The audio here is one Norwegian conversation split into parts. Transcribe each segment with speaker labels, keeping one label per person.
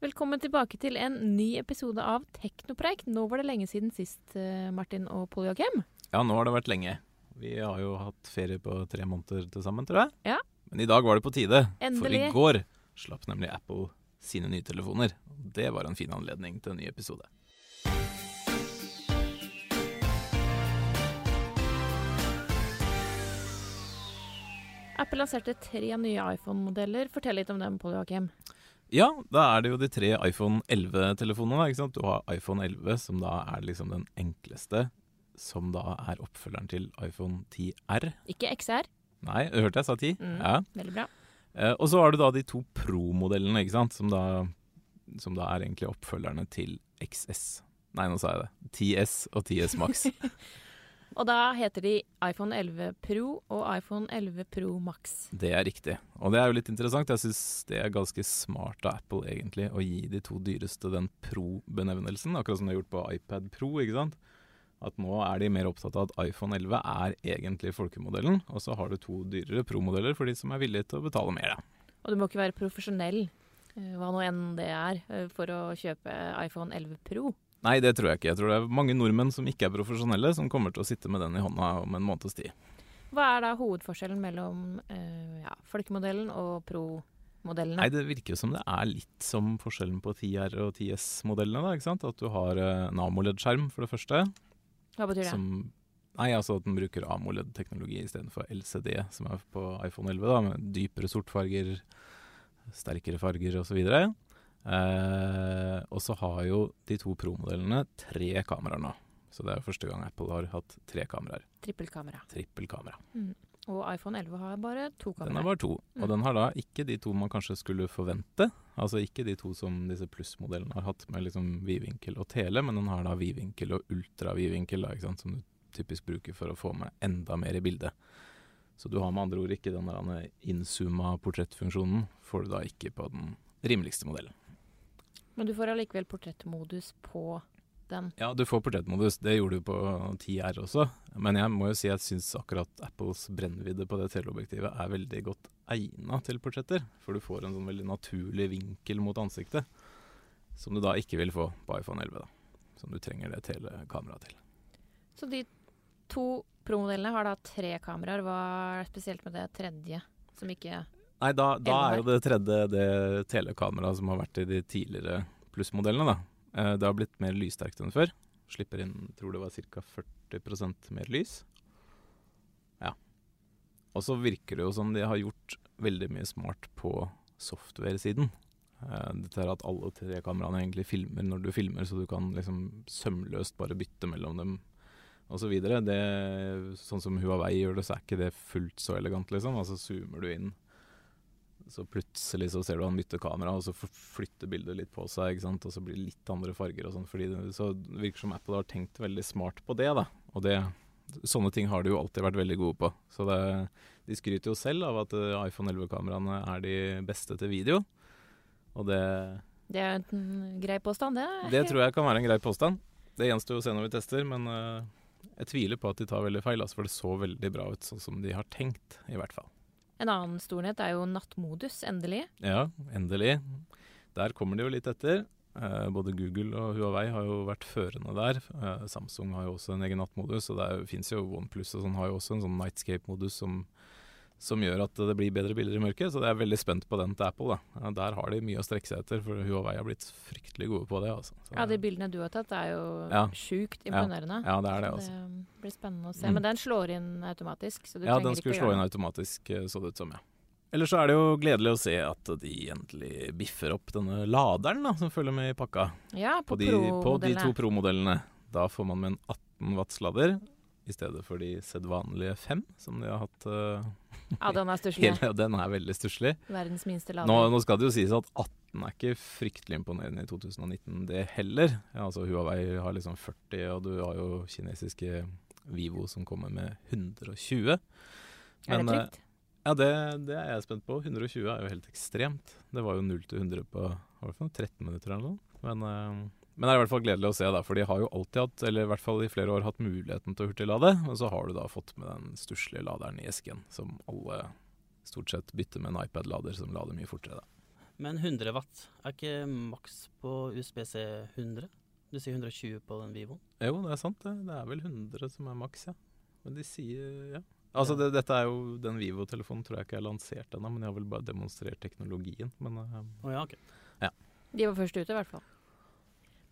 Speaker 1: Velkommen tilbake til en ny episode av Teknopreik. Nå var det lenge siden sist, eh, Martin og Pål Joakim.
Speaker 2: Ja, nå har det vært lenge. Vi har jo hatt ferie på tre måneder til sammen, tror jeg.
Speaker 1: Ja.
Speaker 2: Men i dag var det på tide. For
Speaker 1: Endelig.
Speaker 2: i går slapp nemlig Apple sine nye telefoner. Og Det var en fin anledning til en ny episode.
Speaker 1: Apple lanserte tre nye iPhone-modeller. Fortell litt om dem, Pål Joakim.
Speaker 2: Ja, da er det jo de tre iPhone 11-telefonene. ikke sant? Du har iPhone 11, som da er liksom den enkleste. Som da er oppfølgeren til iPhone 10R.
Speaker 1: Ikke XR.
Speaker 2: Nei, hørte jeg sa 10?
Speaker 1: Mm.
Speaker 2: Ja.
Speaker 1: Veldig bra.
Speaker 2: Eh, og så har du da de to Pro-modellene, ikke sant? Som da, som da er egentlig oppfølgerne til XS. Nei, nå sa jeg det. TS og TS Max.
Speaker 1: Og da heter de iPhone 11 Pro og iPhone 11 Pro Max.
Speaker 2: det er riktig. Og det er jo litt interessant. Jeg syns det er ganske smart av Apple egentlig å gi de to dyreste den Pro-benevnelsen, akkurat som de har gjort på iPad Pro, ikke sant? At nå er de mer opptatt av at iPhone 11 er egentlig folkemodellen, og så har du to dyrere Pro-modeller for de som er villige til å betale mer, da.
Speaker 1: Og du må ikke være profesjonell, eh, hva nå enn det er, eh, for å kjøpe iPhone 11 Pro.
Speaker 2: Nei, det tror jeg ikke. Jeg tror det er mange nordmenn som ikke er profesjonelle, som kommer til å sitte med den i hånda om en måneds tid.
Speaker 1: Hva er da hovedforskjellen mellom eh, ja, folkemodellen og Pro-modellene?
Speaker 2: Nei, det virker jo som det er litt som forskjellen på 10R og 10S-modellene, da, ikke sant? At du har eh, en AMOLED-skjerm, for det første.
Speaker 1: Hva betyr det?
Speaker 2: Som, nei, altså at den bruker AMOLED-teknologi istedenfor LCD, som er på iPhone 11, da, med dypere sortfarger, sterkere farger osv. Eh, og så har jo de to Pro-modellene tre kameraer nå. Så det er jo første gang Apple har hatt tre kameraer.
Speaker 1: Trippelkamera.
Speaker 2: Trippelkamera.
Speaker 1: Og iPhone 11 har bare to
Speaker 2: Den
Speaker 1: kameraer.
Speaker 2: er bare to,
Speaker 1: Mm.
Speaker 2: og den har da ikke de to man kanskje skulle forvente. Altså ikke de to som disse plussmodellene har hatt med liksom vidvinkel og tele, men den har da vidvinkel og ultravidvinkel, da, ikke sant, som du typisk bruker for å få med enda mer i bildet. Så du har med andre ord ikke den der andre innzooma portrettfunksjonen, får du da ikke på den rimeligste modellen.
Speaker 1: Men du får allikevel portrettmodus på den.
Speaker 2: Ja, du får portrettmodus, det gjorde du på 10R også, men jeg må jo si jeg syns akkurat Apples brennvidde på det teleobjektivet er veldig godt egna til portretter, for du får en sånn veldig naturlig vinkel mot ansiktet, som du da ikke vil få på iPhone 11, da, som du trenger det telekameraet til.
Speaker 1: Så de to promodellene har da tre kameraer. Hva er spesielt med det tredje? Som ikke
Speaker 2: Nei, da, da er jo det tredje det telekameraet som har vært i de tidligere plussmodellene, da. Eh, Det har blitt mer lyssterkt enn før. Slipper inn, tror det var ca. 40 mer lys. Ja. Og så virker det jo som de har gjort veldig mye smart på software-siden. Eh, Dette er at alle tre kameraene egentlig filmer når du filmer, så du kan liksom sømløst bare bytte mellom dem og så videre. Det, sånn som Huawei gjør det, så er ikke det fullt så elegant, liksom. Altså zoomer du inn, så plutselig så ser du han bytter kamera, og så f- flytter bildet litt på seg, ikke sant? og så blir det litt andre farger og sånn. fordi det- Så det virker som Apple har tenkt veldig smart på det, da. Og det, sånne ting har de jo alltid vært veldig gode på. Så det, de skryter jo selv av at eh, iPhone 11-kameraene er de beste til video. Og det,
Speaker 1: Det er jo en grei påstand, det.
Speaker 2: det tror jeg kan være en grei påstand. Det gjenstår jo å se når vi tester, men eh, jeg tviler på at de tar veldig feil, altså, for det så veldig bra ut sånn som de har tenkt, i hvert fall.
Speaker 1: En annen storhet er jo nattmodus, endelig.
Speaker 2: Ja, endelig. Der kommer de jo litt etter. Eh, både Google og Huawei har jo vært førende der. Eh, Samsung har jo også en egen nattmodus, og det fins jo OnePlus og sånn har jo også en sånn nightscape-modus som, som gjør at det blir bedre bilder i mørket. Så jeg er veldig spent på den til Apple. da. Eh, der har de mye å strekke seg etter, for Huawei har blitt fryktelig gode på det. altså. Så-
Speaker 1: Ja, De bildene du har tatt, er jo
Speaker 2: Ja.
Speaker 1: sjukt
Speaker 2: Ja.
Speaker 1: imponerende.
Speaker 2: ja, det er det, altså.
Speaker 1: Det blir spennende å se.
Speaker 2: Mm.
Speaker 1: Men den slår inn automatisk. Så du
Speaker 2: ja,
Speaker 1: trenger
Speaker 2: den skulle
Speaker 1: ikke å
Speaker 2: slå
Speaker 1: gjøre
Speaker 2: inn
Speaker 1: noe.
Speaker 2: automatisk, eh, så det ut som, ja. Ellers så er det jo gledelig å se at de endelig biffer opp denne laderen da, som følger med i pakka.
Speaker 1: Ja,
Speaker 2: På
Speaker 1: på,
Speaker 2: de, på de
Speaker 1: pro-modellene.
Speaker 2: to Pro-modellene. Da får man med en 18 watts lader i stedet for de sedvanlige 5 som de har hatt. eh,
Speaker 1: Ja, den er stusslig.
Speaker 2: hele, og den er veldig stusslig.
Speaker 1: Verdens minste
Speaker 2: Nå,
Speaker 1: lader.
Speaker 2: nå skal det jo sies at 18 er ikke fryktelig imponerende i 2019, det heller. Ja, altså Huawei har liksom 40, og du har jo kinesiske Vivo som kommer med 120.
Speaker 1: er det
Speaker 2: men, eh,
Speaker 1: trygt?
Speaker 2: Ja, det, det er jeg spent på. 120 er jo helt ekstremt. Det var jo 0 til 100 på hva var det for noe, 13 minutter eller noe. Men, eh, men det er i hvert fall gledelig å se, da, for de har jo alltid hatt, eller i hvert fall i flere år, hatt muligheten til å hurtiglade. Og så har du da fått med den stusslige laderen i esken, som alle stort sett bytter med en iPad-lader som lader mye fortere. da.
Speaker 3: Men 100 watt, er ikke maks på USBC 100? Du sier 120 på den Vivoen.
Speaker 2: Jo, det er sant. Det, det er vel 100 som er maks, ja. Men de sier ja. Altså, det, dette er jo Den Vivo-telefonen tror jeg ikke er lansert ennå, men jeg har vel bare demonstrert teknologien. Men eh,
Speaker 3: Å ja, ok.
Speaker 1: De var først ute, i hvert fall.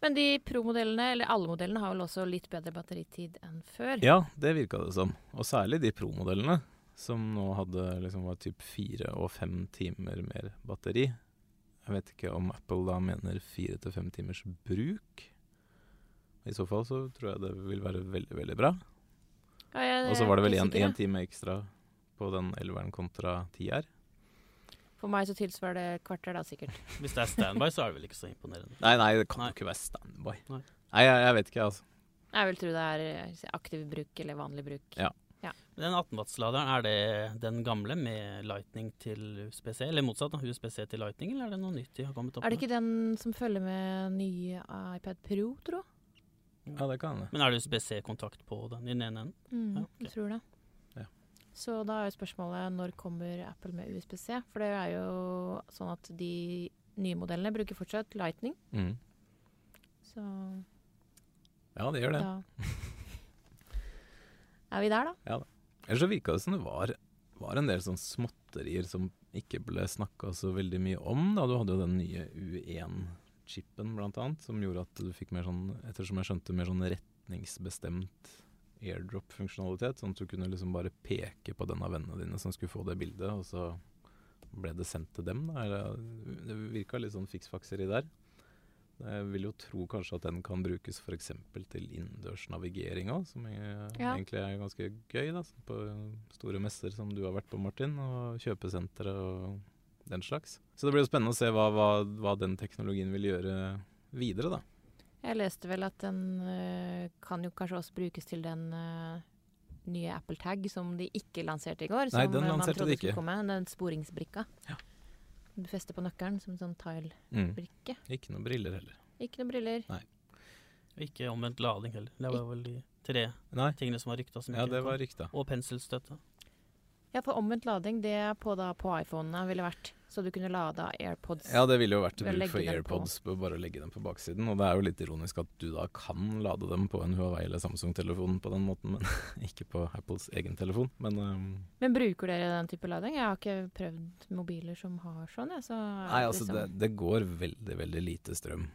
Speaker 1: Men de pro-modellene, eller alle modellene, har vel også litt bedre batteritid enn før.
Speaker 2: ja, det virka det som. Og særlig de Pro-modellene, som nå hadde liksom var typ fire og fem timer mer batteri. Jeg vet ikke om Apple da mener fire til fem timers bruk. I så fall så tror jeg det vil være veldig, veldig bra.
Speaker 1: Ja, jeg er
Speaker 2: Og så var det vel
Speaker 1: ikke
Speaker 2: en,
Speaker 1: sikker, jeg.
Speaker 2: en time ekstra på den 11-eren kontra 10-er.
Speaker 1: For meg så tilsvarer det et kvarter, da, sikkert.
Speaker 3: Hvis det er standby, så er det vel ikke så imponerende.
Speaker 2: Nei, nei, det kan
Speaker 3: Nei.
Speaker 2: jo ikke være standby. Nei,
Speaker 3: Nei.
Speaker 2: jeg, jeg vet ikke, altså.
Speaker 1: Jeg vil tro det er eh, aktiv bruk eller vanlig bruk.
Speaker 2: Ja.
Speaker 3: Men Den 18-watts-laderen, er det den gamle med lightning til USBC? Eller motsatt, da, USBC til lightning, eller er det noe nytt de har kommet opp
Speaker 1: Er det ikke den som følger med nye iPad Pro, tro?
Speaker 2: Ja, det kan det.
Speaker 3: Men er det USBC-kontakt på den i den ene enden?
Speaker 1: Mm,
Speaker 3: Ja,
Speaker 1: Jeg
Speaker 3: ok.
Speaker 1: tror det.
Speaker 2: Ja.
Speaker 1: Så da er jo spørsmålet når kommer Apple med USBC? For det er jo sånn at de nye modellene bruker fortsatt Lightning.
Speaker 2: Mm.
Speaker 1: Så
Speaker 2: Ja, det gjør det.
Speaker 1: da er vi der, da.
Speaker 2: Ellers så virka det som det var, var en del sånn småtterier som ikke ble snakka så veldig mye om. Da. Du hadde jo den nye U1-chipen, blant annet, som gjorde at du fikk mer sånn, ettersom jeg skjønte, mer sånn retningsbestemt airdrop-funksjonalitet. Sånn at du kunne liksom bare peke på den av vennene dine som skulle få det bildet, og så ble det sendt til dem. Da. Eller, det virka litt sånn fiksfakseri der. Jeg vil jo tro kanskje at den kan brukes f.eks. til innendørs navigering òg, som er,
Speaker 1: Ja.
Speaker 2: egentlig er ganske gøy. da, sånn På store messer som du har vært på, Martin, og kjøpesentre og den slags. Så det blir jo spennende å se hva, hva, hva den teknologien vil gjøre videre, da.
Speaker 1: Jeg leste vel at den øh, kan jo kanskje også brukes til den øh, nye Apple Tag som de ikke lanserte i går.
Speaker 2: Nei,
Speaker 1: som
Speaker 2: den
Speaker 1: øh, man
Speaker 2: lanserte
Speaker 1: trodde
Speaker 2: de
Speaker 1: skulle
Speaker 2: ikke.
Speaker 1: Komme, den sporingsbrikka.
Speaker 2: Ja.
Speaker 1: Du fester på nøkkelen som en sånn tile-brikke.
Speaker 2: Ikke noen briller heller.
Speaker 1: Ikke noen briller.
Speaker 3: Og ikke omvendt lading heller. Det var vel de tre
Speaker 2: Nei,
Speaker 3: tingene som var rykta som
Speaker 2: ja,
Speaker 3: ikke
Speaker 2: det var
Speaker 3: kom.
Speaker 2: rykta.
Speaker 3: Og penselstøtte.
Speaker 1: Ja, for omvendt lading, det er på, da, på iPhonene ville vært. Så du kunne lada AirPods.
Speaker 2: Ja, det ville jo vært
Speaker 1: Ved å
Speaker 2: bruk
Speaker 1: legge
Speaker 2: for
Speaker 1: dem på.
Speaker 2: AirPods, på. bare å legge dem på baksiden. Og det er jo litt ironisk at du da kan lade dem på en Huawei eller Samsung-telefon på den måten, men ikke på Apples egen telefon. Men ehm, øhm,
Speaker 1: Men bruker dere den type lading? Jeg har ikke prøvd mobiler som har sånn. Jeg, så liksom,
Speaker 2: Nei, altså det, det går veldig, veldig lite strøm.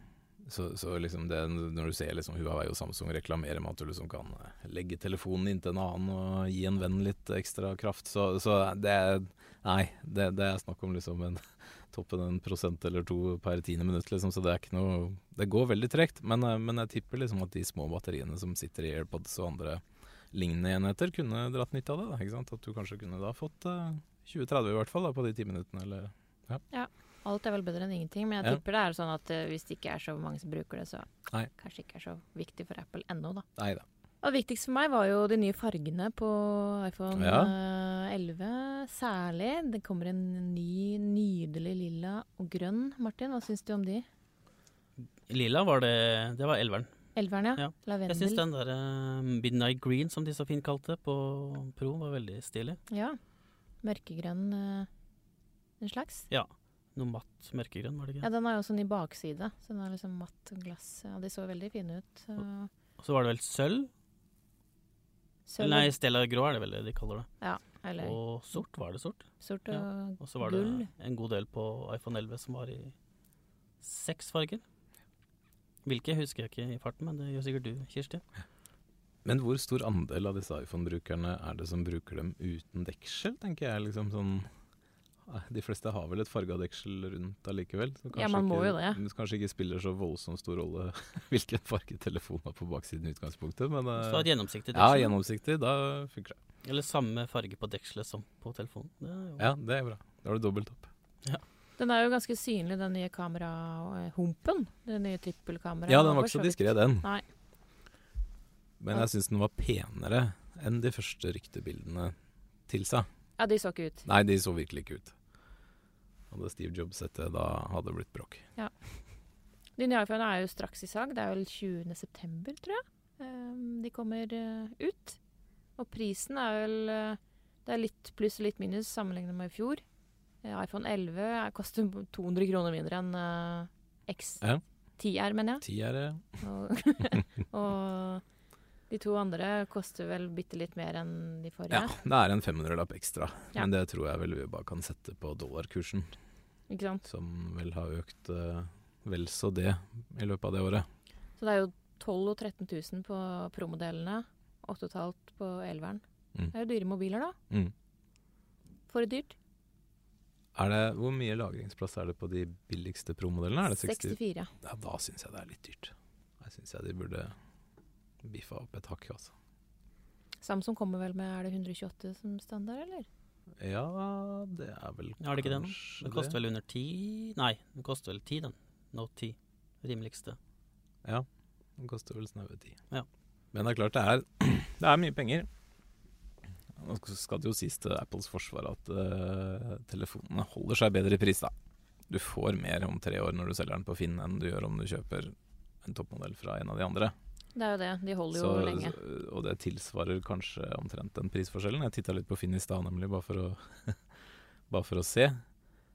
Speaker 2: Så, så liksom det, når du ser liksom Huawei og Samsung reklamere med at du liksom kan eh, legge telefonen inntil en annen og gi en venn litt ekstra kraft, så, så det Nei, det, det er snakk om liksom en toppen en prosent eller to per tiende minutt, liksom, så det er ikke noe Det går veldig tregt, men, eh, men jeg tipper liksom at de små batteriene som sitter i AirPods og andre lignende enheter, kunne dratt nytte av det. Da, ikke sant? At du kanskje kunne da fått eh, 20-30 i hvert fall da, på de ti minuttene, eller
Speaker 1: Alt er vel bedre enn ingenting, men jeg
Speaker 2: Ja.
Speaker 1: tipper det er sånn at eh, hvis det ikke er så mange som bruker det, så
Speaker 2: Nei.
Speaker 1: kanskje ikke er så viktig for Apple ennå, da.
Speaker 2: Nei da.
Speaker 1: Og viktigst for meg var jo de nye fargene på iPhone
Speaker 2: Ja.
Speaker 1: eh, 11, særlig. Det kommer en ny, nydelig lilla og grønn. Martin, hva syns du om de?
Speaker 3: Lilla var det Det var elveren.
Speaker 1: Elveren, ja.
Speaker 3: Ja. Jeg
Speaker 1: Lavendel.
Speaker 3: syns den der eh, Midnight Green, som de så fint kalte det, på Pro, var veldig stilig.
Speaker 1: Ja. Mørkegrønn eh, en slags.
Speaker 3: Noe matt mørkegrønn, var det ikke?
Speaker 1: Ja, den har jo sånn i bakside, så den er liksom matt og glass. Ja, de så veldig fine ut. så-
Speaker 3: Og så var det vel sølv?
Speaker 1: Sølv
Speaker 3: Nei,
Speaker 1: og-
Speaker 3: Stella Grå er det vel de kaller det.
Speaker 1: eller
Speaker 3: Og sort, var det sort?
Speaker 1: sort
Speaker 3: ja.
Speaker 1: og
Speaker 3: Og så var
Speaker 1: Gull.
Speaker 3: det en god del på iPhone 11 som var i seks farger. Hvilke husker jeg ikke i farten, men det gjør sikkert du, Kirsti.
Speaker 2: Men hvor stor andel av disse iPhone-brukerne er det som bruker dem uten deksel, tenker jeg. liksom sånn... eh, De fleste har vel et farga deksel rundt allikevel. så
Speaker 1: Ja,
Speaker 2: kanskje
Speaker 1: man må
Speaker 2: ikke,
Speaker 1: jo det.
Speaker 2: Kanskje ikke spiller så voldsomt stor rolle hvilken farge telefonen har på baksiden i utgangspunktet, men
Speaker 3: Så
Speaker 2: eh,
Speaker 3: det var et gjennomsiktig
Speaker 2: ja,
Speaker 3: deksel.
Speaker 2: gjennomsiktig, da funker det.
Speaker 3: Eller samme farge på dekselet som på telefonen. Det er jo
Speaker 2: Ja, det er bra. Da har du dobbelt opp.
Speaker 1: Den er jo ganske synlig, den nye kamerahumpen. Det nye trippelkameraet.
Speaker 2: Ja, den var
Speaker 1: for
Speaker 2: ikke så
Speaker 1: vidt-
Speaker 2: diskré, den.
Speaker 1: Nei.
Speaker 2: Men jeg syns den var penere enn de første ryktebildene tilsa.
Speaker 1: Ja, de så ikke ut.
Speaker 2: Nei, de så virkelig ikke ut. Hadde Steve Jobs sett det, da hadde det blitt bråk.
Speaker 1: De nye iPhonene er jo straks i salg. Det er vel 20. september, tror jeg. Ehm, De kommer eh, ut. Og prisen er vel eh, Det er litt pluss og litt minus sammenlignet med i fjor. Eh, iPhone 11 er- koster 200 kroner mindre enn eh,
Speaker 2: Ja.
Speaker 1: X10R, mener jeg.
Speaker 2: Ti er det.
Speaker 1: Og, og de to andre koster vel bitte litt mer enn de
Speaker 2: Ja,
Speaker 1: forrige.
Speaker 2: det er en 500-lapp ekstra.
Speaker 1: Ja.
Speaker 2: Men det tror jeg vel vi bare kan sette på dollarkursen,
Speaker 1: Ikke sant?
Speaker 2: som vel har økt eh, vel så det i løpet av det året.
Speaker 1: Så det er jo 12 000 og 13 000 på promodellene. 8,5 på elveren.
Speaker 2: Mm.
Speaker 1: Det er jo dyre mobiler, da.
Speaker 2: Mm.
Speaker 1: For dyrt.
Speaker 2: Er det, hvor mye lagringsplass er det på de billigste promodellene? Er det 60?
Speaker 1: 64.
Speaker 2: Ja, da syns jeg det er litt dyrt. Jeg syns jeg de burde biffa opp et hakk, altså.
Speaker 1: Samsung kommer vel med er det 128 som standard, eller?
Speaker 2: Ja, det er vel
Speaker 3: Ja, er det ikke det nå?
Speaker 2: kanskje
Speaker 3: Den koster vel under ti Nei, den koster vel ti, den. Note 10. Rimeligste.
Speaker 2: Den koster vel snaue ti.
Speaker 3: Ja.
Speaker 2: Men det er klart det er, det er mye penger. Nå sk- skal det jo sies til Apples forsvar at eh, telefonene holder seg bedre i pris, da. Du får mer om tre år når du selger den på Finn enn du gjør om du kjøper en toppmodell fra en av de andre.
Speaker 1: Det er jo det. De holder jo
Speaker 2: Så-
Speaker 1: lenge.
Speaker 2: så- og det tilsvarer kanskje omtrent den prisforskjellen. Jeg titta litt på Finn i stad, nemlig, bare for å, bare for å se.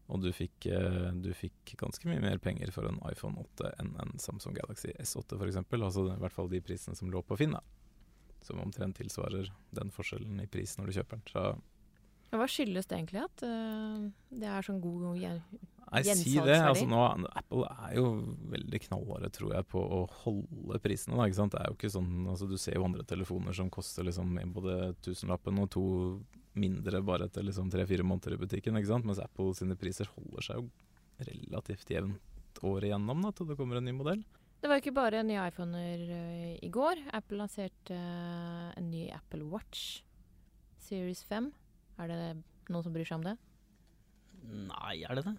Speaker 2: Og du fikk, eh, du fikk ganske mye mer penger for en iPhone 8 enn en Samsung Galaxy S8 f.eks. Altså det- i hvert fall de prisene som lå på Finn, da. Som omtrent tilsvarer den forskjellen i pris når du kjøper den. Så
Speaker 1: Ja, Hva skyldes det egentlig at eh, det er sånn god gjen-
Speaker 2: Nei, si det.
Speaker 1: Gjensalgsverdi.
Speaker 2: Altså, nå, Apple er jo veldig knallharde, tror jeg, på å holde prisene. Da, ikke sant? Det er jo ikke sånn, altså, du ser jo andre telefoner som koster liksom, både tusenlappen og to mindre bare etter liksom, tre-fire måneder i butikken, ikke sant? mens Apple sine priser holder seg jo relativt jevnt året igjennom da, til det kommer en ny modell.
Speaker 1: Det var jo ikke bare nye iPhoner eh, i går. Apple lanserte eh, en ny Apple Watch Series 5. Er det noen som bryr seg om det?
Speaker 3: Nei, er det det?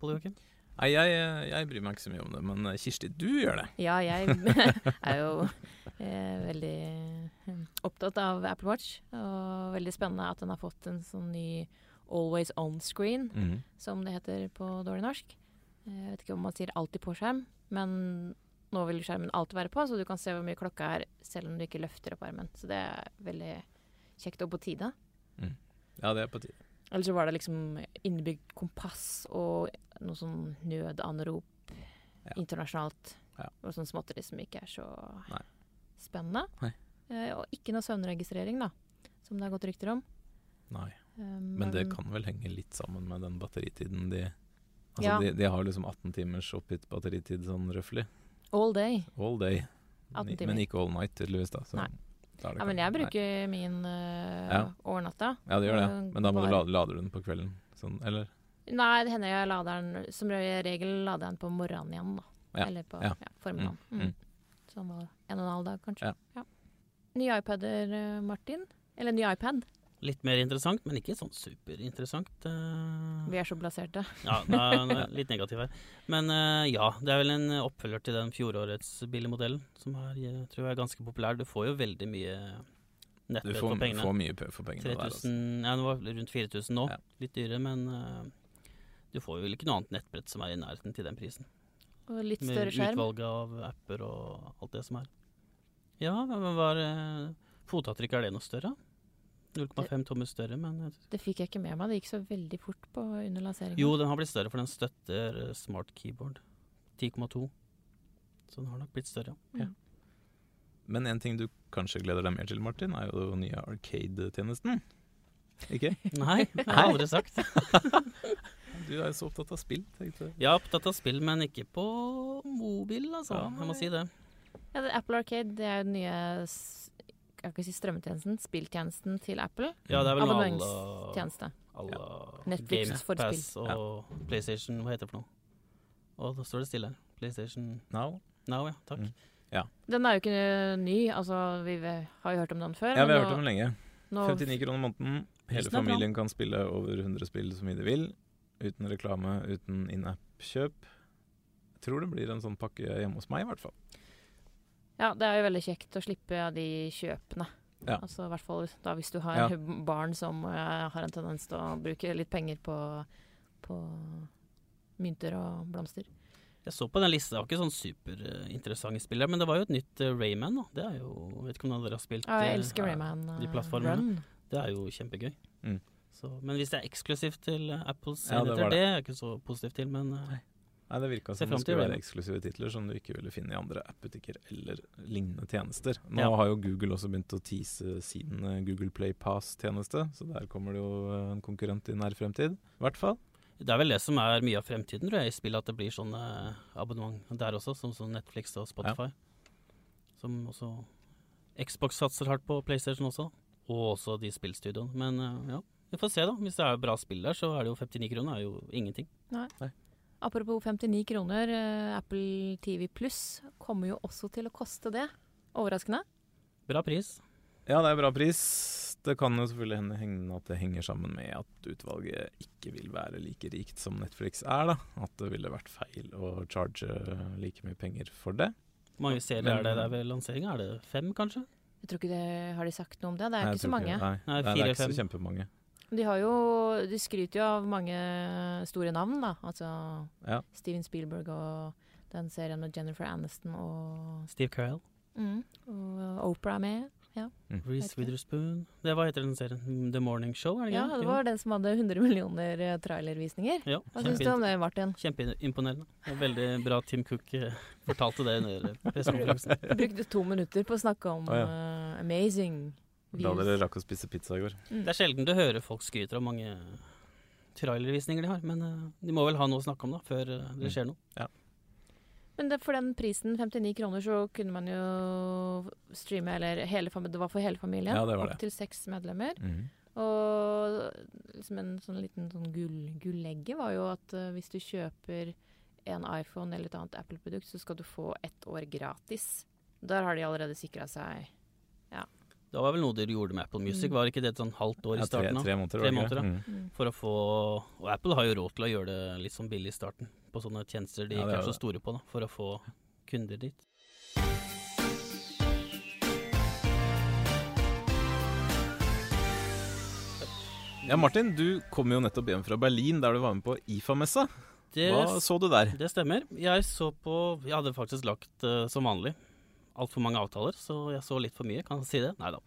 Speaker 3: Pål Joakim?
Speaker 2: Nei, jeg, jeg bryr meg ikke så mye om det, men eh, Kirsti, du gjør det.
Speaker 1: Ja, jeg er jo eh, veldig eh, opptatt av Apple Watch. Og veldig spennende at den har fått en sånn ny always on-screen, som det heter på dårlig norsk. Eh, Jeg vet ikke om man sier alltid på skjerm, men nå vil skjermen alltid være på, så du kan se hvor mye klokka er selv om du ikke løfter opp armen. Så det er veldig kjekt og på tide.
Speaker 2: Ja, det er på tide.
Speaker 1: Eller så var det liksom innebygd kompass og noe sånn nødanrop
Speaker 2: Ja.
Speaker 1: internasjonalt.
Speaker 2: Ja.
Speaker 1: Og sånn småtteri som ikke er så
Speaker 2: Nei.
Speaker 1: spennende.
Speaker 2: Nei.
Speaker 1: Eh, og ikke noe søvnregistrering, da, som det har gått rykter om.
Speaker 2: Nei.
Speaker 1: Eh,
Speaker 2: Men det kan vel henge litt sammen med den batteritiden de Altså
Speaker 1: Ja.
Speaker 2: de, de har liksom 18 timers oppgitt batteritid sånn røffelig.
Speaker 1: All day.
Speaker 2: All day.
Speaker 1: 18
Speaker 2: Ni-
Speaker 1: timer.
Speaker 2: Men ikke all night, tydeligvis. da. Så
Speaker 1: Nei.
Speaker 2: da er det
Speaker 1: Ja, men
Speaker 2: kanskje-
Speaker 1: jeg bruker min eh,
Speaker 2: Ja.
Speaker 1: over natta.
Speaker 2: Nei. Ja, det gjør det.
Speaker 1: øh,
Speaker 2: Men da må du
Speaker 1: bare-
Speaker 2: lade, lader du den på kvelden. Sånn, eller?
Speaker 1: Nei, det hender jeg lader den Som regel lader jeg den på morgenen igjen, da.
Speaker 2: Ja,
Speaker 1: Eller på
Speaker 2: ja.
Speaker 1: ja. formiddagen. Mm.
Speaker 2: Mm, mm.
Speaker 1: Sånn var det. en og en halv dag, kanskje.
Speaker 2: Ja.
Speaker 1: Ja. Nye iPader, eh, Martin. Eller ny iPad.
Speaker 3: Litt mer interessant, men ikke sånn superinteressant. eh.
Speaker 1: Vi er så blaserte.
Speaker 3: Ja, da, nå er jeg litt negativ her. Men eh, ja, det er vel en oppfølger til den fjorårets billigmodellen, som er, jeg tror jeg er ganske populær. Du får jo veldig mye
Speaker 2: Du
Speaker 3: nettbrett
Speaker 2: får,
Speaker 3: for pengene.
Speaker 2: får mye p- for pengene der. Altså.
Speaker 3: 3000, ja, det var rundt 4000 nå.
Speaker 2: Ja.
Speaker 3: Litt dyre, men eh, du får jo vel ikke noe annet nettbrett som er i nærheten til den prisen.
Speaker 1: Og litt
Speaker 3: Med
Speaker 1: større skjerm.
Speaker 3: utvalget av apper og alt det som er. Ja, men var eh, fotavtrykk, er det noe større? 0,5 tommer større, men jeg
Speaker 1: Det fikk jeg ikke med meg. Det gikk så veldig fort på under lanseringen.
Speaker 3: Jo, den har blitt større, for den støtter eh, smart keyboard. 10,2. Så den har nok blitt større.
Speaker 2: Men en ting du kanskje gleder deg mer til, Martin, er jo den nye Arcade-tjenesten. Ikke?
Speaker 3: Nei, det har jeg aldri sagt.
Speaker 2: Du er jo så opptatt av spill, tenkte jeg.
Speaker 3: Jeg er opptatt av spill, men ikke på mobil, altså.
Speaker 2: Ja,
Speaker 3: Jeg må si det.
Speaker 1: Ja, det, Apple Arcade det er jo den nye s- jeg kan ikke si strømmetjenesten, spilltjenesten til Apple.
Speaker 3: Ja, det er vel noe
Speaker 1: Abonnementstjeneste.
Speaker 3: alle
Speaker 1: Netflix for spill.
Speaker 3: Pass og PlayStation Hva heter det for noe? Å, da står det stille. PlayStation
Speaker 2: Now?
Speaker 3: Now, ja. Takk.
Speaker 2: Mm.
Speaker 1: Den er jo ikke ny. Altså, vi ve- har jo hørt om den før.
Speaker 2: Ja, vi har
Speaker 1: men
Speaker 2: hørt om den lenge.
Speaker 1: nå, nå
Speaker 2: 59 kroner i måneden. Hele
Speaker 3: Prisen er bra.
Speaker 2: familien kan spille over 100 spill så mye de vil. Uten reklame, uten in-app-kjøp. Jeg tror det blir en sånn pakke hjemme hos meg, i hvert fall.
Speaker 1: Ja, det er jo veldig kjekt å slippe av de kjøpene.
Speaker 2: Ja.
Speaker 1: Altså i hvert fall da hvis du har
Speaker 2: Ja.
Speaker 1: barn som eh, har en tendens til å bruke litt penger på, på mynter og blomster.
Speaker 3: Jeg så på den lista, det var ikke sånn superinteressante spill, der, men det var jo et nytt eh, Rayman, da. Det er jo Vet ikke om dere har spilt
Speaker 1: Ja, jeg
Speaker 3: eh,
Speaker 1: elsker Rayman.
Speaker 3: de
Speaker 1: eh,
Speaker 3: plattformene.
Speaker 1: Run.
Speaker 3: Det er jo kjempegøy.
Speaker 2: Mm.
Speaker 3: Så, men hvis det er eksklusivt til eh, Apples
Speaker 2: Ja, det
Speaker 3: enheter,
Speaker 2: var
Speaker 3: det.
Speaker 2: det.
Speaker 3: er jeg ikke så positiv til, men eh,
Speaker 2: Nei. Nei, det virka
Speaker 3: Se
Speaker 2: som det
Speaker 3: frem til
Speaker 2: skulle være
Speaker 3: Rainbow.
Speaker 2: eksklusive titler som du ikke ville finne i andre app-butikker eller lignende tjenester. Nå
Speaker 3: Ja.
Speaker 2: har jo Google også begynt å tease sin eh, Google Play Pass-tjeneste, så der kommer det jo eh, en konkurrent i nær fremtid. I hvert fall.
Speaker 3: det er vel det som er mye av fremtiden tror jeg, i spill, at det blir sånne eh, abonnement der også, som, som Netflix og Spotify. Som også Xbox satser hardt på, PlayStation også, og også de spillstudioene. Men eh, ja, vi får se, da. Hvis det er bra spill der, så er det jo 59 kroner, er jo ingenting.
Speaker 1: Apropos 59 kroner, eh, Apple TV Pluss kommer jo også til å koste det. Overraskende.
Speaker 3: Bra pris.
Speaker 2: Ja, det er bra pris. Det kan jo selvfølgelig hende- hende at det henger sammen med at utvalget ikke vil være like rikt som Netflix er, da. At det ville vært feil å charge eh, like mye penger for det.
Speaker 3: Mange serier
Speaker 2: Men-
Speaker 3: er det der ved lanseringa? Er det fem, kanskje?
Speaker 1: Jeg tror ikke det, Har de sagt noe om det? Det er
Speaker 2: Nei, jeg
Speaker 1: ikke så
Speaker 2: tror
Speaker 1: mange.
Speaker 2: Nei,
Speaker 3: Nei,
Speaker 2: det er ikke
Speaker 3: fire-fem.
Speaker 2: så kjempemange.
Speaker 1: De, har jo, de skryter jo av mange store navn, da. Altså
Speaker 2: Ja.
Speaker 1: Steven Spielberg og den serien med Jennifer Aniston og,
Speaker 3: Steve Carell.
Speaker 1: mm, og Oprah er med.
Speaker 3: Reese
Speaker 1: Vet ikke.
Speaker 3: Witherspoon. Det Hva heter den serien? The Morning Show, er det
Speaker 1: Ja,
Speaker 3: ikke?
Speaker 1: det var den som hadde 100 millioner eh, trailervisninger.
Speaker 3: Jo.
Speaker 1: Hva
Speaker 3: Ja,
Speaker 1: syns du om
Speaker 3: kjempeint-
Speaker 1: det, Martin?
Speaker 3: Kjempeimponerende. Det var Veldig bra Tim Cook eh, fortalte det under eh, pressekonferansen.
Speaker 1: Du brukte to minutter på å snakke om
Speaker 2: Å, ja.
Speaker 1: eh, amazing
Speaker 2: Da dere
Speaker 1: views. Mm.
Speaker 2: rakk å spise pizza i går.
Speaker 3: Det er sjelden du hører folk skryter av mange trailervisninger de har, men eh, de må vel ha noe å snakke om da, før eh,
Speaker 2: Mm.
Speaker 3: det skjer noe.
Speaker 1: Men det, for den prisen, 59 kroner, så kunne man jo streame eller hele, fami- Det var for hele familien.
Speaker 2: Ja, det Mhm. var
Speaker 1: Opp
Speaker 2: det.
Speaker 1: til seks medlemmer. Og liksom en sånn liten sånn gull, gullegge var jo at eh, hvis du kjøper en iPhone eller et annet Apple-produkt, så skal du få ett år gratis. Der har de allerede sikra seg
Speaker 3: Det var vel noe dere gjorde med Apple Music,
Speaker 1: Mm.
Speaker 3: var ikke det et sånn halvt år
Speaker 2: Ja,
Speaker 3: i
Speaker 2: tre,
Speaker 3: starten? da?
Speaker 2: tre måneder,
Speaker 3: Tre
Speaker 2: var det
Speaker 3: måneder,
Speaker 2: ikke det?
Speaker 3: ja.
Speaker 2: Mm.
Speaker 3: For å få Og Apple har jo råd til å gjøre det litt sånn billig i starten, på sånne tjenester de
Speaker 2: Ja, det
Speaker 3: ikke
Speaker 2: er
Speaker 3: er så
Speaker 2: det.
Speaker 3: store på, da, for å få kunder dit.
Speaker 2: Ja, Martin, du kom jo nettopp hjem fra Berlin, der du var med på IFA-messa.
Speaker 3: Det
Speaker 2: Hva så du der?
Speaker 3: Det stemmer. Jeg så på Jeg hadde faktisk lagt, eh, som vanlig, altfor mange avtaler, så jeg så litt for mye, kan jeg si det? Nei da.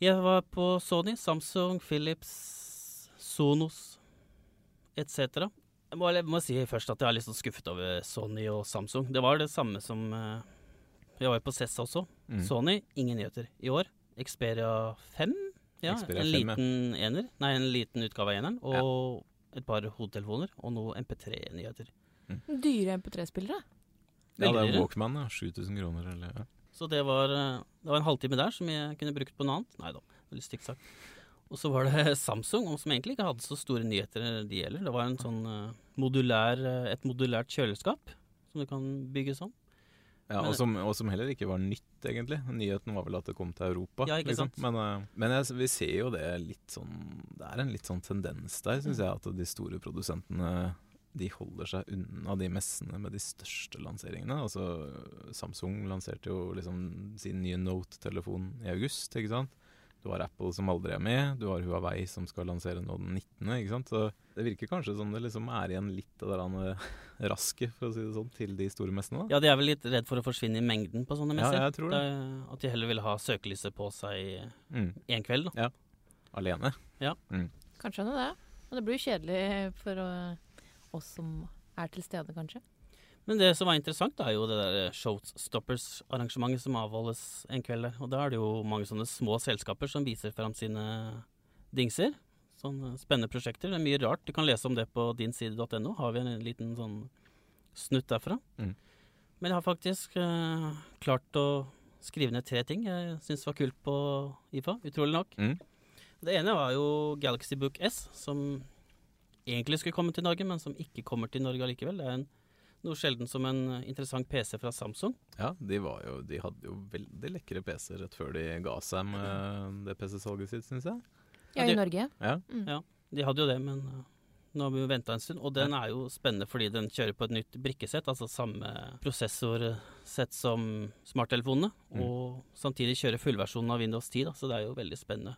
Speaker 3: Jeg var på Sony, Samsung, Philips, Sonos etc. Jeg må, jeg må si først at jeg er litt sånn skuffet over Sony og Samsung. Det var det samme som eh, Jeg var jo på CES også.
Speaker 2: Mm.
Speaker 3: Sony, ingen nyheter i år. Xperia 5? Ja,
Speaker 2: Xperia
Speaker 3: en
Speaker 2: 5, ja.
Speaker 3: liten ener. Nei, en liten utgave av eneren. Og et par hodetelefoner og noe MP3-nyheter.
Speaker 1: dyre MP3-spillere.
Speaker 2: Ja, det er
Speaker 3: Veldig dyre.
Speaker 2: Walkman, ja. 7000 kroner, eller ja.
Speaker 3: Så det var, eh, det var en halvtime der som jeg kunne brukt på noe annet. Nei da, veldig stygt sagt. Og så var det Samsung, og som egentlig ikke hadde så store nyheter eh, de gjelder. Det var en sånn eh, modulær, eh, et modulært kjøleskap som du kan bygge sånn.
Speaker 2: ja
Speaker 3: Men-
Speaker 2: og, som, og som heller ikke var nytt, egentlig. Nyheten var vel at det kom til Europa.
Speaker 3: Ja, ikke sant?
Speaker 2: Men, eh, men jeg, vi ser jo det litt sånn Det er en litt sånn tendens der, syns
Speaker 3: Mm.
Speaker 2: jeg, at de store produsentene de holder seg unna de messene med de største lanseringene. Altså, Samsung lanserte jo liksom sin nye Note-telefon i august, ikke sant. Du har Apple som aldri er med, du har Huawei som skal lansere nå den 19., ikke sant. Så det virker kanskje som det liksom er igjen litt av det der rasket, for å si det sånn, til de store messene. da.
Speaker 3: Ja, de er vel litt redd for å forsvinne i mengden på sånne
Speaker 2: Ja,
Speaker 3: messer.
Speaker 2: jeg tror det.
Speaker 3: er- At de heller vil ha søkelyset på seg
Speaker 2: Mm.
Speaker 3: én kveld, da.
Speaker 2: Alene.
Speaker 1: Kan skjønne det. Men det blir jo kjedelig for eh, oss som er til stede, kanskje.
Speaker 3: Men det som var interessant, da, er jo det der Showstoppers-arrangementet som avholdes en kveld der. Og da er det jo mange sånne små selskaper som viser fram sine dingser. Sånne spennende prosjekter. Det er mye rart. Du kan lese om det på dinside.no. Har vi en liten sånn snutt derfra.
Speaker 2: Mm.
Speaker 3: Men jeg har faktisk eh, klart å skrive ned tre ting jeg syns var kult på IFA. Utrolig nok.
Speaker 2: Mm.
Speaker 3: Det ene var jo Galaxy Book S, som egentlig skulle komme til Norge, men som ikke kommer til Norge allikevel. Det er en noe sjelden som en eh, interessant PC fra Samsung.
Speaker 2: Ja, de, var jo, de hadde jo veldig lekre PC-er rett før de ga seg med det PC-salget sitt, syns jeg.
Speaker 3: Ja,
Speaker 1: Ja,
Speaker 3: det-
Speaker 1: i Norge.
Speaker 2: Ja.
Speaker 1: Mm.
Speaker 3: De hadde jo det, men eh, nå har vi jo venta en stund. Og den er jo spennende fordi den kjører på et nytt brikkesett, altså samme prosessorsett som smarttelefonene.
Speaker 2: Mm.
Speaker 3: Og samtidig kjører fullversjonen av Windows 10, da, så det er jo veldig spennende.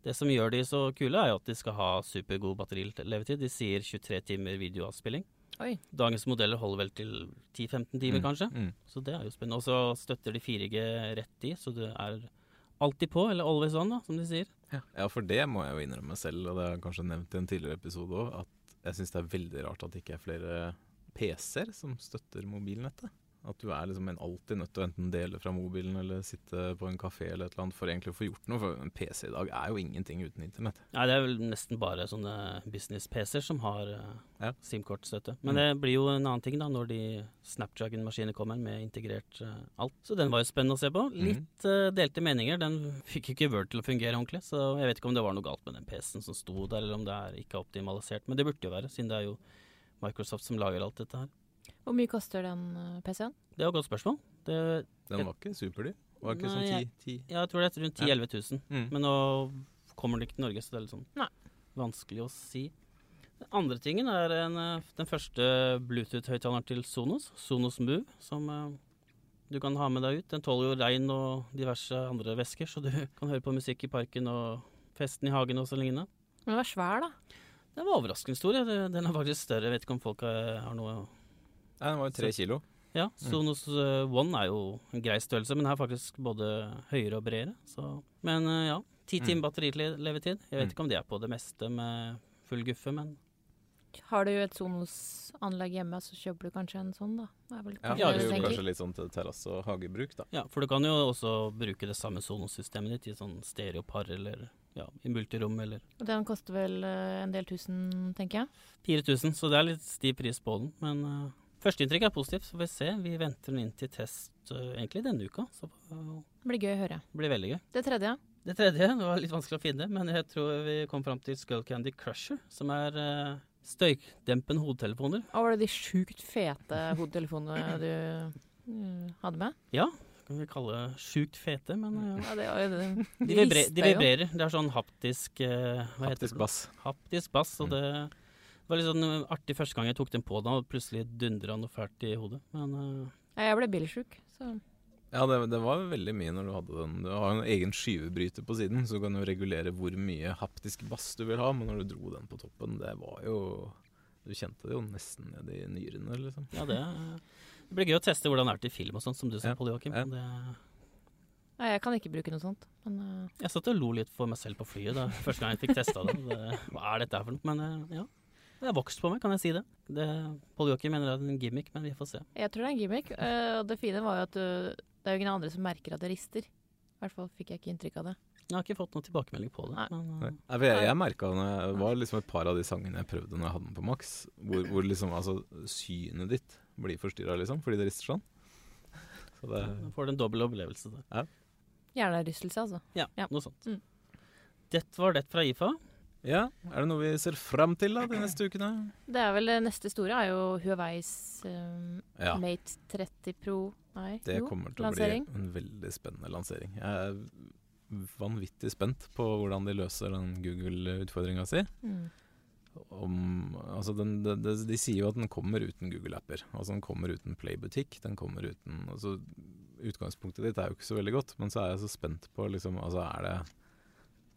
Speaker 3: Det som gjør de så kule, er jo at de skal ha supergod batterilevetid. De sier 23 timer videoavspilling.
Speaker 1: Oi.
Speaker 3: Dagens modeller holder vel til 10-15 timer,
Speaker 2: Mm,
Speaker 3: kanskje.
Speaker 2: Mm.
Speaker 3: Så det er jo spennende. Og så støtter de 4G rett i, så det er alltid på, eller always on, da, som de sier.
Speaker 2: Ja, for det må jeg jo innrømme selv, og det har jeg kanskje nevnt i en tidligere episode òg, at jeg syns det er veldig rart at det ikke er flere PC-er som støtter mobilnettet. At du er liksom en alltid nødt til å enten dele fra mobilen eller sitte på en kafé eller et eller annet for egentlig å få gjort noe, for en PC i dag er jo ingenting uten internett.
Speaker 3: Nei, det er vel nesten bare sånne business-PC-er som har eh,
Speaker 2: Ja. Mm.
Speaker 3: SIM-kortstøtte. Men det blir jo en annen ting da, når de Snapdragon-maskinene kommer med integrert eh, alt. Så den var jo spennende å se på.
Speaker 2: Mm.
Speaker 3: Litt eh, delte meninger. Den fikk ikke Word til å fungere ordentlig, så jeg vet ikke om det var noe galt med den PC-en som sto der, eller om det er ikke optimalisert. Men det burde jo være, siden det er jo Microsoft som lager alt dette her.
Speaker 1: Hvor mye koster den eh, PC-en?
Speaker 3: Det var et godt spørsmål. Det,
Speaker 2: Den var ikke superdyr. Var ikke
Speaker 3: Nei,
Speaker 2: sånn
Speaker 3: jeg-
Speaker 2: 10 10
Speaker 3: jeg tror det er rundt 10
Speaker 2: Ja.
Speaker 3: 000-11 000.
Speaker 2: Mm.
Speaker 3: Men nå kommer det ikke til Norge, så det er litt sånn
Speaker 1: Nei.
Speaker 3: vanskelig å si. Den andre tingen er en, eh, den første Bluetooth-høyttaleren til Sonos, Sonos Move, som eh, du kan ha med deg ut. Den tåler jo regn og diverse andre væsker, så du kan høre på musikk i parken og festen i hagen og så lignende.
Speaker 1: Den var svær, da.
Speaker 3: Den var overraskende stor. ja. Det- Den er faktisk større. Jeg vet ikke om folk eh, har har noe
Speaker 2: Nei, den var jo tre kilo.
Speaker 3: Ja,
Speaker 2: Mm.
Speaker 3: Sonos eh, One er jo en grei størrelse, men den er faktisk både høyere og bredere. Så. Men eh, ja, ti
Speaker 2: Mm.
Speaker 3: timer batterilevetid. Jeg
Speaker 2: Mm.
Speaker 3: vet ikke om det er på det meste med full guffe, men
Speaker 1: Har du et Sonos-anlegg hjemme, så kjøper du kanskje en sånn, da. Det er vel
Speaker 2: Ja,
Speaker 1: kanskje
Speaker 3: ja,
Speaker 1: det
Speaker 2: det
Speaker 1: du
Speaker 3: gjorde
Speaker 2: gjorde
Speaker 1: tenker.
Speaker 2: kanskje litt sånn til terrasse- og hagebruk, da.
Speaker 3: ja, For du kan jo også bruke det samme Sonos-systemet ditt i sånn stereopar eller ja, i multirom eller
Speaker 1: Og Den koster vel eh, en del tusen, tenker jeg.
Speaker 3: 4000, så det er litt stiv pris på den. Men eh, førsteinntrykk er positivt, så får vi se. Vi venter den inn til test eh, egentlig denne uka, så eh,
Speaker 1: Det blir gøy å høre.
Speaker 3: det blir veldig gøy.
Speaker 1: Det tredje.
Speaker 3: Det tredje det var litt vanskelig å finne, men jeg tror vi kom fram til Skull Candy Crusher, som er eh, støydempende hodetelefoner.
Speaker 1: Og var det de sjukt fete hodetelefonene du eh, hadde med?
Speaker 3: Kan vi kalle sjukt fete, men
Speaker 2: Mm.
Speaker 3: eh,
Speaker 1: Ja, det var jo det.
Speaker 3: de, vibre,
Speaker 1: rister
Speaker 3: de
Speaker 1: jo.
Speaker 3: vibrerer. Det er sånn haptisk eh, Hva heter
Speaker 2: Haptisk
Speaker 3: det?
Speaker 2: bass.
Speaker 3: Haptisk bass.
Speaker 2: Mm.
Speaker 3: Og det var litt sånn eh, artig første gang jeg tok den på, da, og plutselig dundra noe fælt i hodet. Men eh,
Speaker 1: Ja, jeg ble bilsjuk, så
Speaker 2: Ja, det, det var veldig mye når du hadde den. Du har en egen skyvebryter på siden, så du kan jo regulere hvor mye haptisk bass du vil ha, men når du dro den på toppen, det var jo Du kjente det jo nesten ned i nyrene, liksom.
Speaker 3: ja, det, eh, det blir gøy å teste hvordan det er til film og sånn, som du sa,
Speaker 2: Ja.
Speaker 3: Pål Joakim.
Speaker 2: Ja.
Speaker 3: Det-
Speaker 1: Nei, jeg kan ikke bruke noe sånt. Men eh,
Speaker 3: Jeg satt og lo litt for meg selv på flyet da første gang jeg fikk testa det. det. Hva er dette her for noe? Men eh, ja. Det har vokst på meg, kan jeg si det. det Pål Joakim mener det er en gimmick, men vi får se.
Speaker 1: jeg tror det er en gimmick. eh, og det fine var jo at eh, det er jo ingen andre som merker at det rister. I hvert fall fikk jeg ikke inntrykk av det.
Speaker 3: Jeg har ikke fått noen tilbakemelding på det.
Speaker 1: Nei.
Speaker 3: Men, eh,
Speaker 2: Nei, for jeg, jeg merket når jeg- det var liksom et par av de sangene jeg prøvde når jeg hadde den på maks, hvor, hvor liksom altså synet ditt blir forstyrra, liksom, fordi det rister sånn. Så det
Speaker 3: da får du en dobbel opplevelse der.
Speaker 1: Hjernerystelse, altså.
Speaker 3: Ja,
Speaker 1: Ja.
Speaker 3: noe sånt.
Speaker 1: Mm.
Speaker 3: Det var det fra IFA.
Speaker 2: Ja, er det noe vi ser fram til da de neste ukene?
Speaker 1: Det er vel eh, neste store er jo Huaweis eh,
Speaker 2: Ja.
Speaker 1: Mate 30 Pro Nei,
Speaker 2: Det
Speaker 1: jo.
Speaker 2: kommer til
Speaker 1: lansering.
Speaker 2: å bli en veldig spennende lansering. Jeg er vanvittig spent på hvordan de løser den Google-utfordringa si.
Speaker 1: Mm.
Speaker 2: Om, altså den, de, de, de sier jo at den kommer uten Google-apper. Altså Den kommer uten Playbutikk. Den kommer uten altså Utgangspunktet ditt er jo ikke så veldig godt, men så er jeg så spent på liksom, altså er det,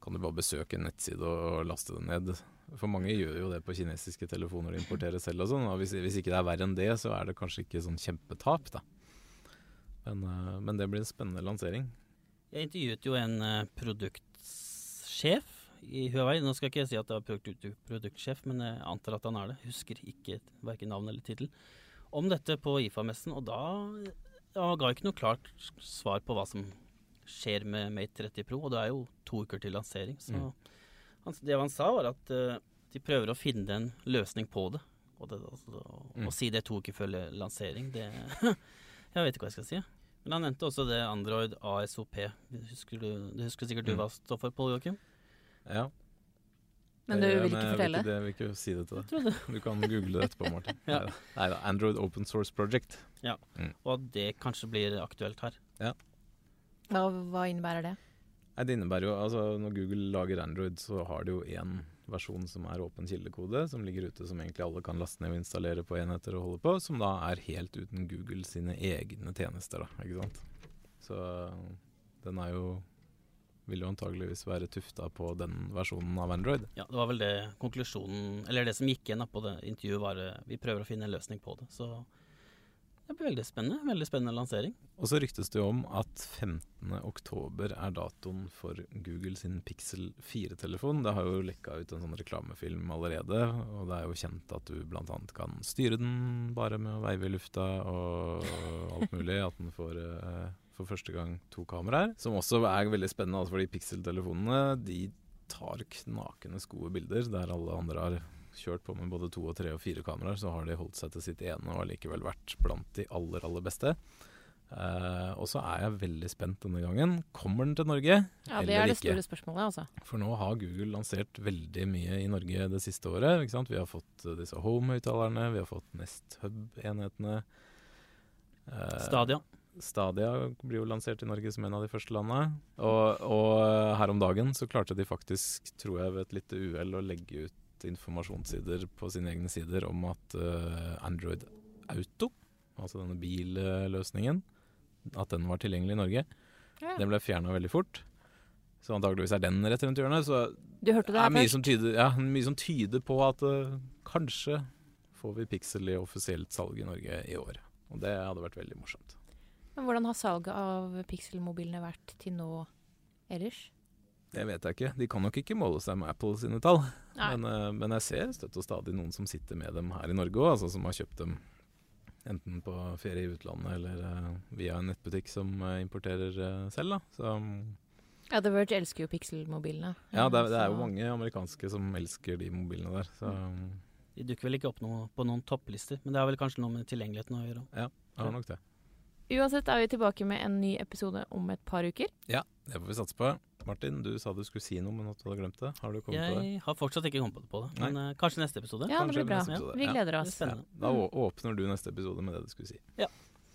Speaker 2: Kan du bare besøke en nettside og laste det ned? For mange gjør jo det på kinesiske telefoner de importerer selv og sånn. Og hvis, hvis ikke det er verre enn det, så er det kanskje ikke sånn kjempetap, da. Men, eh, men det blir en spennende lansering.
Speaker 3: Jeg intervjuet jo en eh, produktsjef i Huawei. Nå skal ikke jeg si at det var produkt, produktsjef, men jeg antar at han er det. Husker ikke verken navn eller tittel. Om dette på IFA-messen, og da ja, ga jeg ikke noe klart svar på hva som skjer med Mate 30 Pro, og det er jo to uker til lansering. Så
Speaker 2: Mm.
Speaker 3: han, det han sa, var at eh, de prøver å finne en løsning på det. Og det, altså, å-
Speaker 2: Mm.
Speaker 3: Å si det to uker før lansering, det Jeg vet ikke hva jeg skal si. Men han nevnte også det Android ASOP. Det husker, du, det husker sikkert du
Speaker 2: Mm.
Speaker 3: hva står for, Pål Joakim?
Speaker 2: Ja,
Speaker 1: Men du
Speaker 2: Eh,
Speaker 1: vil
Speaker 2: jeg
Speaker 1: ikke fortelle?
Speaker 2: Vil ikke, det, vil ikke si det til deg.
Speaker 3: Tror det.
Speaker 2: Du kan google det etterpå, Martin.
Speaker 3: Ja.
Speaker 2: Neida. Neida, Android Open Source Project.
Speaker 3: Og at det kanskje blir aktuelt her.
Speaker 1: Hva, hva innebærer det?
Speaker 2: Nei, det innebærer jo, altså Når Google lager Android, så har de jo én versjon som er åpen kildekode, som ligger ute som egentlig alle kan laste ned og installere på enheter og holde på, som da er helt uten Google sine egne tjenester, da, ikke sant. Så den er jo Vil jo antageligvis være tufta på den versjonen av Android.
Speaker 3: Ja, Det var vel det konklusjonen Eller det som gikk igjen da på det intervjuet, var eh, vi prøver å finne en løsning på det. Så det blir veldig spennende. Veldig spennende lansering.
Speaker 2: Og så ryktes det jo om at 15. oktober er datoen for Google sin Pixel 4-telefon. Det har jo lekka ut en sånn reklamefilm allerede, og det er jo kjent at du bl.a. kan styre den bare med å veive i lufta og alt mulig. At den får eh, for første gang to kameraer. Som også er veldig spennende, altså fordi Pixel-telefonene de tar knakende gode bilder der alle andre har kjørt på med både to og tre og fire kameraer, så har de holdt seg til sitt ene og allikevel vært blant de aller, aller beste. Eh, og så er jeg veldig spent denne gangen. Kommer den til Norge?
Speaker 1: Ja, Det
Speaker 2: Eller
Speaker 1: er det
Speaker 2: ikke.
Speaker 1: store spørsmålet, altså.
Speaker 2: For nå har Google lansert veldig mye i Norge det siste året. Ikke sant? Vi har fått eh, disse Home-høyttalerne, vi har fått Nest Hub-enhetene. Eh,
Speaker 3: Stadia.
Speaker 2: Stadia blir jo lansert i Norge som en av de første landene. Og, og eh, her om dagen så klarte de faktisk, tror jeg ved et lite uhell, å legge ut informasjonssider på sine egne sider om at eh, Android Auto, altså denne billøsningen, at den var tilgjengelig i Norge.
Speaker 1: Ja.
Speaker 2: Den ble fjerna veldig fort. Så antageligvis er den rett rundt hjørnet. Så
Speaker 1: Du hørte
Speaker 2: det
Speaker 1: det
Speaker 2: er
Speaker 1: her
Speaker 2: mye
Speaker 1: først.
Speaker 2: som tyder, ja, mye som tyder på at eh, kanskje får vi Pixel i offisielt salg i Norge i år. Og det hadde vært veldig morsomt.
Speaker 1: Men hvordan har salget av Pixel-mobilene vært til nå ellers?
Speaker 2: Det vet jeg ikke. De kan nok ikke måle seg med Apple sine tall.
Speaker 1: Nei.
Speaker 2: Men, eh, men jeg ser støtt og stadig noen som sitter med dem her i Norge òg, altså som har kjøpt dem enten på ferie i utlandet eller eh, via en nettbutikk som eh, importerer eh, selv. Da. Så, mm,
Speaker 1: Ja, The Verge elsker jo Pixel-mobilene.
Speaker 2: ja, det, er- det er
Speaker 1: så-
Speaker 2: jo mange amerikanske som elsker de mobilene der. Så mm,
Speaker 3: De dukker vel ikke opp noe, på noen topplister, men det har vel kanskje noe med tilgjengeligheten å gjøre.
Speaker 2: jeg har nok det.
Speaker 1: Uansett er vi tilbake med en ny episode om et par uker.
Speaker 2: Det får vi satse på. Martin, du sa du skulle si noe, men at du hadde glemt det. Har du kommet på det?
Speaker 3: Jeg har fortsatt ikke kommet på det, men eh, kanskje neste episode.
Speaker 1: Ja, det
Speaker 2: Kanskje
Speaker 1: blir bra.
Speaker 2: neste episode.
Speaker 1: Vi
Speaker 2: Ja.
Speaker 1: gleder
Speaker 3: Det er
Speaker 1: oss. Mm.
Speaker 2: Ja,
Speaker 3: spennende.
Speaker 2: da å- åpner du neste episode med det du skulle si.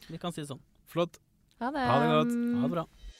Speaker 3: Vi kan si det sånn.
Speaker 2: Flott.
Speaker 1: Ha det.
Speaker 2: Ha det godt.
Speaker 3: Ha det bra.